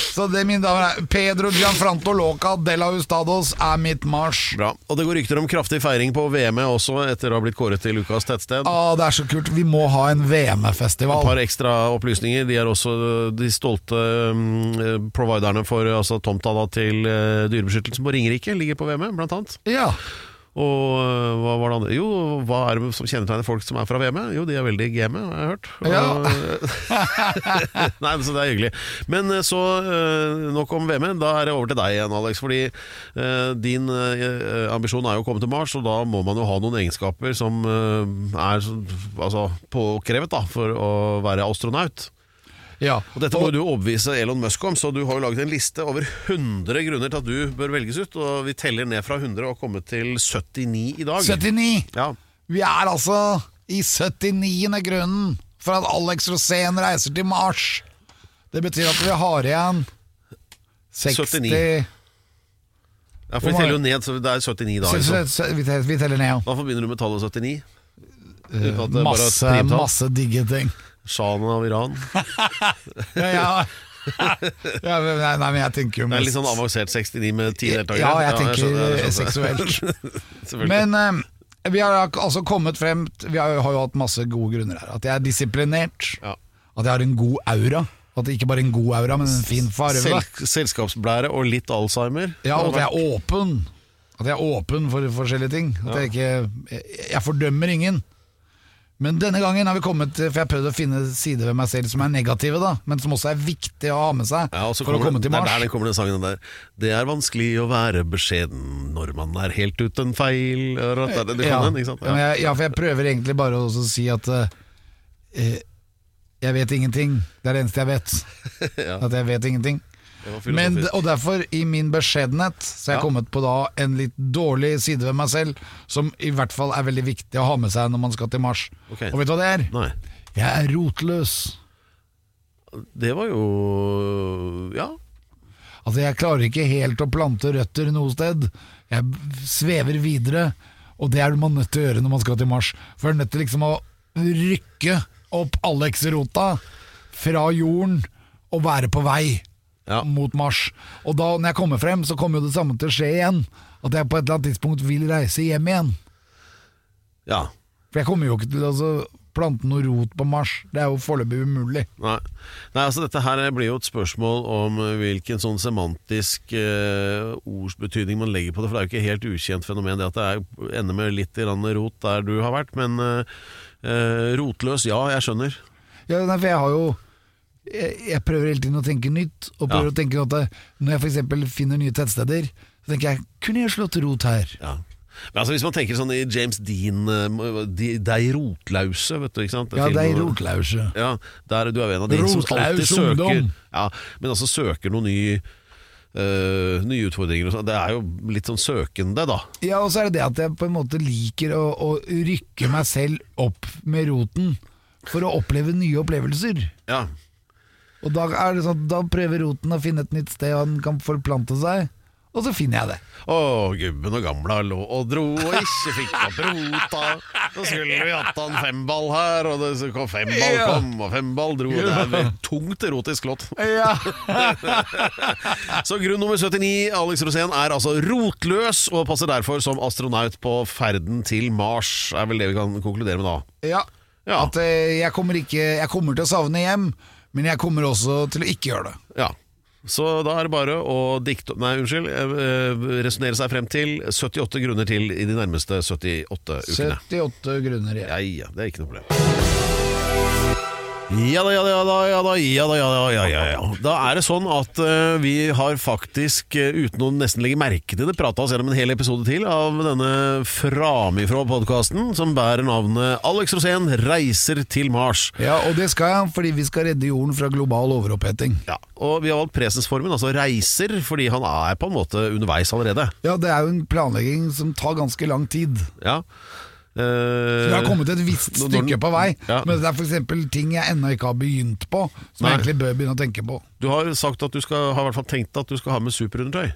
Speaker 6: Så det mine damer og herrer, Pedro Gianfranto Loca de la Hustados er mitt Mars.
Speaker 5: Bra. Og det går rykter om kraftig feiring på VM-et også, etter å ha blitt kåret til ukas tettsted.
Speaker 6: Å, det er så kult. Vi må ha en
Speaker 5: Et
Speaker 6: VM-festival.
Speaker 5: par ekstra opplysninger. De er også de stolte mm, providerne for altså, tomta da, til eh, Dyrebeskyttelsen på Ringerike. Ligger på VM-et, blant annet.
Speaker 6: Ja.
Speaker 5: Og eh, hva var det andre? Jo, hva er det som kjennetegner folk som er fra VM-et? Jo, de er veldig game, har jeg hørt.
Speaker 6: Ja.
Speaker 5: Og- (laughs) Nei, så det er hyggelig. Men eh, så eh, nok om VM-et. Da er det over til deg igjen, Alex. Fordi eh, din eh, ambisjon er jo å komme til Mars, og da må man jo ha noen egenskaper som eh, er så- altså, påkrevet da, for å være astronaut.
Speaker 6: ja.
Speaker 5: Og Dette må jo du overbevise Elon Musk om, så du har jo laget en liste over 100 grunner til at du bør velges ut. Og vi teller ned fra 100 og har kommet til 79 i dag.
Speaker 6: 79.
Speaker 5: Ja.
Speaker 6: Vi er altså i 79. grunnen for at Alex Rosén reiser til Mars. Det betyr at vi har igjen 60
Speaker 5: 79. ja, for vi teller jo ned, så det er 79 i dag.
Speaker 6: Se-
Speaker 5: Liksom.
Speaker 6: se- se- Vi teller, vi teller ned, ja.
Speaker 5: Da forbinder du med tallet 79. Uten at det bare er
Speaker 6: Eh, Masse,
Speaker 5: et primtall.
Speaker 6: masse digge ting.
Speaker 5: Shahen av
Speaker 6: (laughs)
Speaker 5: Iran.
Speaker 6: Ja,
Speaker 5: (laughs)
Speaker 6: ja. Ja, men- nei, nei, men jeg tenker jo
Speaker 5: Det er litt
Speaker 6: mest
Speaker 5: sånn avansert 69 med ti deltakere.
Speaker 6: Ja,
Speaker 5: skjønner-
Speaker 6: jeg tenker
Speaker 5: jeg skjønner. (laughs)
Speaker 6: seksuelt.
Speaker 5: Selvfølgelig.
Speaker 6: Men eh, vi har ak- altså kommet frem t- Vi har jo, har jo hatt masse gode grunner her. At jeg er disiplinert.
Speaker 5: Ja.
Speaker 6: At jeg har en god aura. At det ikke bare er en god aura, men en fin farve.
Speaker 5: Sel selskapsblære og litt Alzheimer.
Speaker 6: Ja, og at jeg er åpen. At jeg er åpen for forskjellige ting. At jeg ikke jeg, jeg fordømmer ingen. Men denne gangen har vi kommet til For jeg har prøvd å finne sider ved meg selv som er negative, da men som også er viktige å ha med seg
Speaker 5: Ja, og så
Speaker 6: for å
Speaker 5: kommer
Speaker 6: komme
Speaker 5: den-
Speaker 6: til
Speaker 5: Det er der
Speaker 6: Mars.
Speaker 5: den kommer den sangen den der. Det er vanskelig å være beskjeden når man er helt uten feil Du kan
Speaker 6: ja.
Speaker 5: den, ikke sant?
Speaker 6: men
Speaker 5: Ja.
Speaker 6: jeg, ja, for jeg prøver egentlig bare å også si at eh, eh, jeg vet ingenting. Det er det eneste jeg vet.
Speaker 5: (laughs)
Speaker 6: At jeg vet ingenting.
Speaker 5: Det var
Speaker 6: Men,
Speaker 5: filosofisk.
Speaker 6: og derfor, i min beskjedenhet, så har jeg
Speaker 5: Ja.
Speaker 6: kommet på da en litt dårlig side ved meg selv, som i hvert fall er veldig viktig å ha med seg når man skal til Mars.
Speaker 5: Ok.
Speaker 6: Og vet du hva det er?
Speaker 5: Nei.
Speaker 6: Jeg er rotløs.
Speaker 5: Det var jo Ja.
Speaker 6: Altså, jeg klarer ikke helt å plante røtter noe sted. Jeg svever videre, og det er man nødt til å gjøre når man skal til Mars. For jeg er nødt til liksom å rykke opp Alex-rota fra jorden og være på vei.
Speaker 5: ja.
Speaker 6: mot Mars. Og da når jeg kommer frem, så kommer jo det samme til å skje igjen. At jeg på et eller annet tidspunkt vil reise hjem igjen.
Speaker 5: ja.
Speaker 6: For jeg kommer jo ikke til å altså, plante noe rot på Mars. Det er jo foreløpig umulig.
Speaker 5: Nei. Nei, altså Dette her blir jo et spørsmål om hvilken sånn semantisk eh, ordsbetydning man legger på det. For det er jo ikke helt ukjent fenomen det at det er, ender med litt grann rot der du har vært. Men eh, eh, rotløs, ja, jeg skjønner.
Speaker 6: Ja, nei, for jeg har jo jeg, jeg prøver hele tiden å tenke nytt. Og
Speaker 5: Ja.
Speaker 6: prøver å tenke at det, når jeg f.eks. finner nye tettsteder, så tenker jeg kunne jeg slått rot her?
Speaker 5: Ja. Men altså Hvis man tenker sånn i James Dean eh, De, de rotlause, vet du. ikke sant?
Speaker 6: Ja, det er
Speaker 5: Filmen-
Speaker 6: rotlause.
Speaker 5: Ja, der, du er jo en av de som
Speaker 6: Rotlaus
Speaker 5: alltid søker
Speaker 6: ungdom.
Speaker 5: ja, Men altså søker noen ny, eh, nye utfordringer og sånn. Det er jo litt sånn søkende, da.
Speaker 6: Ja, og så er det det at jeg på en måte liker å, å rykke meg selv opp med roten for å oppleve nye opplevelser.
Speaker 5: Ja
Speaker 6: Og da, er det sånn, da prøver roten å finne et nytt sted han kan forplante seg, og så finner jeg det.
Speaker 5: Å, gubben og gamla lå og dro og ikke fikk opp rota. Så skulle vi hatt han femball her, og det, så kom femball
Speaker 6: Ja.
Speaker 5: kom, og femball dro. og Det er vel tungt erotisk låt. (laughs) Så grunn nummer 79, Alex Rosén, er altså rotløs og passer derfor som astronaut på ferden til Mars, er vel det vi kan konkludere med da.
Speaker 6: Ja.
Speaker 5: Ja.
Speaker 6: At eh, jeg kommer, ikke, jeg kommer til å savne hjem, men jeg kommer også til å ikke gjøre det.
Speaker 5: Ja. Så da er det bare å dikte Nei, unnskyld. eh, Resonnere seg frem til 78 grunner til i de nærmeste 78 ukene.
Speaker 6: 78 grunner igjen.
Speaker 5: Ja, ja, det er ikke noe problem. Ja da, ja da, ja da, ja da, ja da, ja da, ja, ja, ja. Da er det sånn at eh, vi har faktisk, eh, uten å nesten legge merke til det, prata oss gjennom en hel episode til av denne framifrå-podkasten som bærer navnet Alex Rosén reiser til Mars.
Speaker 6: Ja, og det skal jeg, fordi vi skal redde jorden fra global overoppheting.
Speaker 5: Ja, og vi har valgt presensformen, altså reiser, fordi han er på en måte underveis allerede.
Speaker 6: Ja, det er jo en planlegging som tar ganske lang tid.
Speaker 5: Ja.
Speaker 6: Så
Speaker 5: Eh,
Speaker 6: jeg har kommet et visst
Speaker 5: Når- når-
Speaker 6: stykke på vei,
Speaker 5: Ja.
Speaker 6: men det er f.eks. ting jeg ennå ikke har begynt på, som
Speaker 5: Nei.
Speaker 6: jeg egentlig bør begynne å tenke på.
Speaker 5: du har sagt at du skal, har i hvert fall tenkt at du skal ha med superundertøy.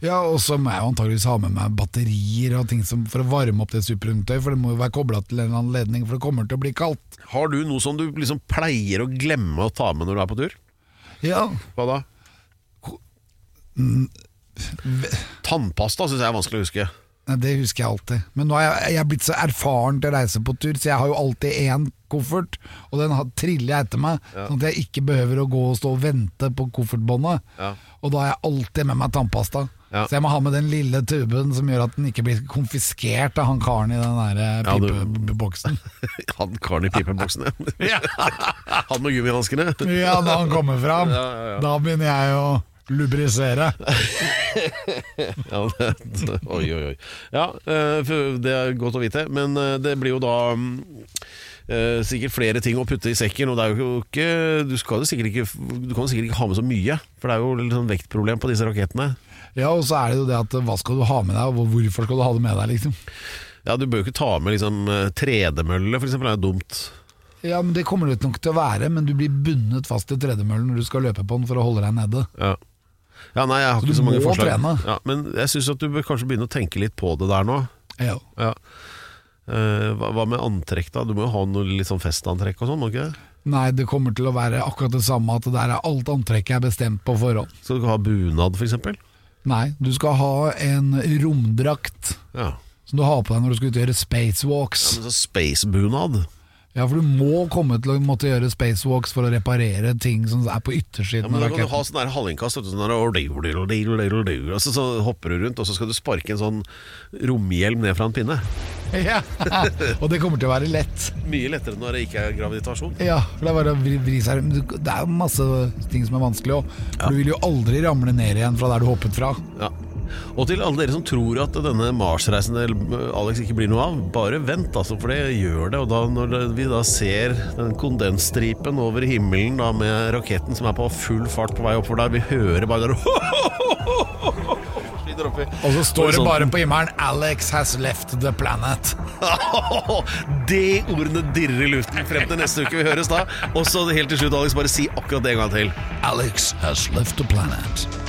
Speaker 6: Ja, og så må jeg jo antageligvis ha med meg batterier og ting som, for å varme opp det superundertøyet, for det må jo være kobla til en eller annen ledning, for det kommer til å bli kaldt.
Speaker 5: Har du noe som du liksom pleier å glemme å ta med når du er på tur?
Speaker 6: Ja,
Speaker 5: Hva da? Tannpasta syns jeg er vanskelig å huske. (laughs)
Speaker 6: Nei, det husker jeg alltid. Men nå er jeg, jeg er blitt så erfaren til å reise på tur, så jeg har jo alltid én koffert, og den har, triller jeg etter meg, sånn at jeg ikke behøver å gå og stå og vente på koffertbåndet.
Speaker 5: Ja.
Speaker 6: Og da har jeg alltid med meg tannpasta.
Speaker 5: Ja.
Speaker 6: Så jeg må ha med den lille tuben som gjør at den ikke blir konfiskert av han karen i den der eh,
Speaker 5: Ja, du-
Speaker 6: pipeboksen.
Speaker 5: Han karen i pipeboksen, (laughs) ja. Han med gummihanskene.
Speaker 6: Ja, da han kommer fram, da begynner jeg å lubrisere.
Speaker 5: Ja, det, (laughs) oi, oi, oi. Ja, eh, for det er godt å vite. Men eh, det blir jo da mm, eh, sikkert flere ting å putte i sekken. Og det er jo ikke, du, skal jo sikkert ikke du kan jo sikkert ikke ha med så mye, for det er jo litt sånn vektproblem på disse rakettene.
Speaker 6: Ja, og så er det jo det at hva skal du ha med deg, og hvorfor skal du ha det med deg, liksom?
Speaker 5: Ja, Du bør jo ikke ta med liksom, eh, tredemølle, for eksempel. Det er jo dumt.
Speaker 6: Ja, men Det kommer det nok til å være, men du blir bundet fast til tredemøllen når du skal løpe på den for å holde deg nede.
Speaker 5: Ja. Ja, nei, jeg har ikke
Speaker 6: du
Speaker 5: så mange
Speaker 6: må
Speaker 5: forslag.
Speaker 6: trene.
Speaker 5: Ja, men jeg syns du bør kanskje begynne å tenke litt på det der nå.
Speaker 6: Ja.
Speaker 5: Ja. Eh, hva, hva med antrekk, da? Du må jo ha noe litt sånn festantrekk og sånn? må du ikke det?
Speaker 6: Nei, det kommer til å være akkurat det samme, at det der er alt antrekket er bestemt på forhånd.
Speaker 5: Skal du ikke ha bunad, f.eks.?
Speaker 6: Nei, du skal ha en romdrakt
Speaker 5: Ja.
Speaker 6: som du har på deg når du skal ut og gjøre spacewalks.
Speaker 5: Ja, men så Spacebunad.
Speaker 6: Ja, for du må komme til å måtte gjøre spacewalks for å reparere ting som er på
Speaker 5: Ja,
Speaker 6: yttersiden
Speaker 5: men da
Speaker 6: av
Speaker 5: kan du ha
Speaker 6: raketten.
Speaker 5: sånn der halvinnkast, vet du, sånn der, og så, så hopper du rundt, og så skal du sparke en sånn romhjelm ned fra en pinne.
Speaker 6: (laughs) Ja. Og det kommer til å være lett.
Speaker 5: Mye lettere når det ikke er gravitasjon.
Speaker 6: Ja, for det er bare å vri, vri seg rundt. Du- Det er jo masse ting som er vanskelig òg. Du vil jo aldri ramle ned igjen fra der du hoppet fra.
Speaker 5: Ja. Og til alle dere som tror at denne Mars-reisen til Alex ikke blir noe av, bare vent, altså, for det gjør det. Og da, når det- vi da ser den kondensstripen over himmelen da, med raketten som er på full fart på vei oppover der, vi hører bare der (laughs) Skyter oppi. Sånn.
Speaker 6: Og så står
Speaker 5: (laughs)
Speaker 6: det
Speaker 5: Horisonten.
Speaker 6: bare på himmelen 'Alex has left the planet'.
Speaker 5: De ordene dirrer i luften frem til neste uke vi høres da. Og så helt til slutt, Alex, bare si akkurat det en gang til.
Speaker 6: Alex has left the planet.